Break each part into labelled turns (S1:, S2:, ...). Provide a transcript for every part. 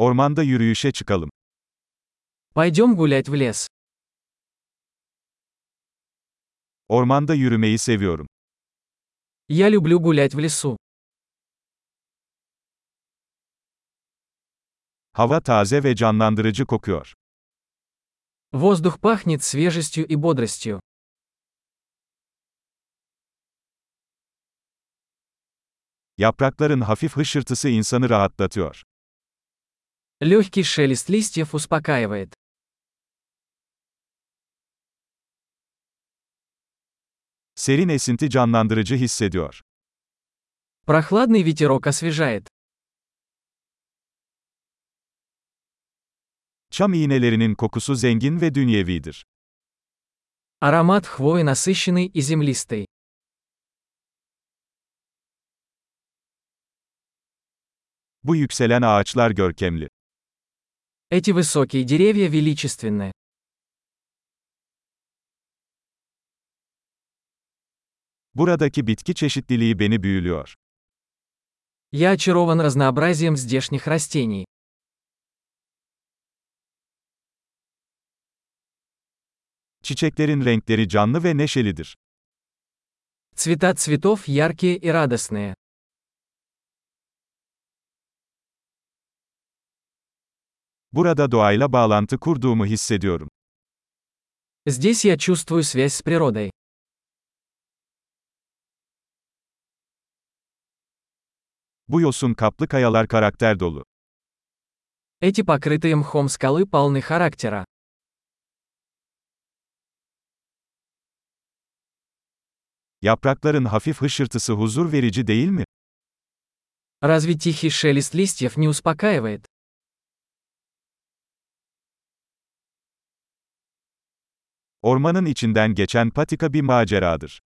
S1: Ormanda yürüyüşe çıkalım.
S2: Пойдем гулять в лес.
S1: Ormanda yürümeyi seviyorum.
S2: Я люблю гулять в лесу.
S1: Hava taze ve canlandırıcı kokuyor.
S2: Воздух пахнет свежестью и бодростью.
S1: Yaprakların hafif hışırtısı insanı rahatlatıyor.
S2: Легкий шелест листьев успокаивает.
S1: Serin esinti canlandırıcı hissediyor.
S2: Прохладный ветерок освежает.
S1: Çam iğnelerinin kokusu zengin ve dünyevidir.
S2: Аромат хвои насыщенный и землистый.
S1: Bu yükselen ağaçlar görkemli.
S2: Эти высокие деревья величественны.
S1: Buradaki bitki çeşitliliği beni büyülüyor.
S2: Я очарован разнообразием здешних растений.
S1: Çiçeklerin renkleri canlı ve neşelidir.
S2: Цвета цветов яркие и радостные.
S1: Burada doğayla bağlantı kurduğumu hissediyorum.
S2: Здесь я чувствую связь с природой.
S1: Bu yosun kaplı kayalar karakter dolu.
S2: Эти покрытые мхом скалы полны характера.
S1: Yaprakların hafif hışırtısı huzur verici değil mi?
S2: Разве тихий шелест листьев не успокаивает?
S1: Ormanın içinden geçen patika bir maceradır.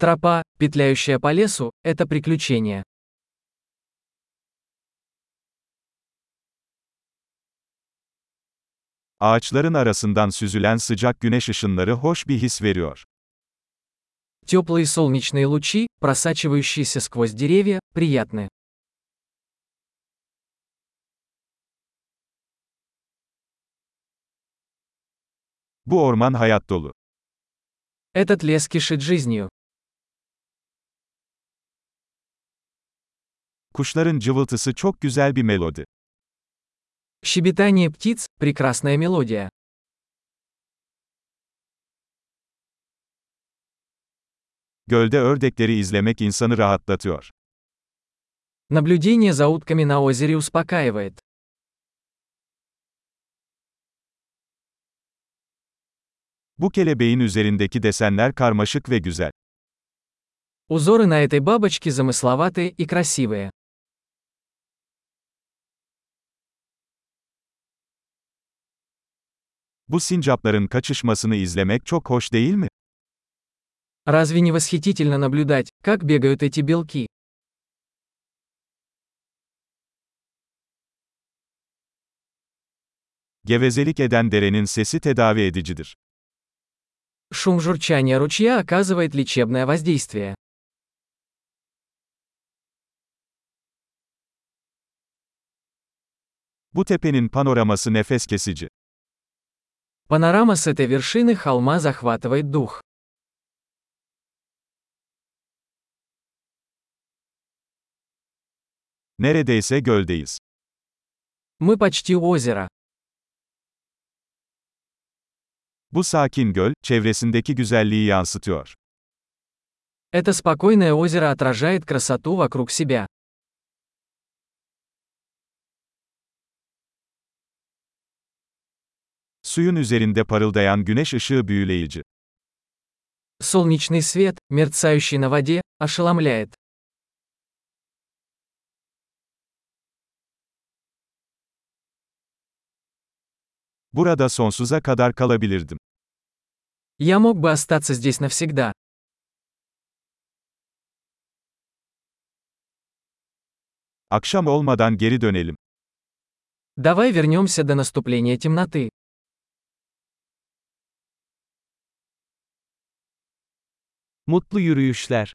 S2: Тропа, петляющая по лесу, это приключение.
S1: Ağaçların arasından süzülen sıcak güneş ışınları hoş bir his veriyor.
S2: Теплые солнечные лучи, просачивающиеся сквозь деревья, приятны.
S1: Bu orman hayat dolu.
S2: Этот лес кишит жизнью.
S1: Kuşların cıvıltısı çok güzel bir melodi.
S2: Щебетание птиц – прекрасная мелодия.
S1: Gölde ördekleri izlemek insanı rahatlatıyor.
S2: Наблюдение за утками на озере успокаивает.
S1: Bu kelebeğin üzerindeki desenler karmaşık ve güzel.
S2: Узоры на этой бабочке замысловатые и красивые.
S1: Bu sincapların kaçışmasını izlemek çok hoş değil mi?
S2: Разве не восхитительно наблюдать, как бегают эти белки?
S1: Gevezelik eden derenin sesi tedavi edicidir.
S2: Шум журчания ручья оказывает лечебное воздействие.
S1: Bu tepenin panoraması nefes kesici.
S2: Панорама с этой вершины холма захватывает дух.
S1: Neredeyse göldeyiz.
S2: Мы почти у озера.
S1: Bu sakin göl, çevresindeki güzelliği yansıtıyor.
S2: Это спокойное озеро отражает красоту вокруг себя.
S1: Suyun üzerinde parıldayan güneş ışığı büyüleyici.
S2: Солнечный свет, мерцающий на воде, ошеломляет.
S1: Burada sonsuza kadar kalabilirdim.
S2: Я мог бы остаться здесь навсегда.
S1: Akşam olmadan geri dönelim.
S2: Давай вернемся до наступления темноты.
S3: Mutlu yürüyüşler.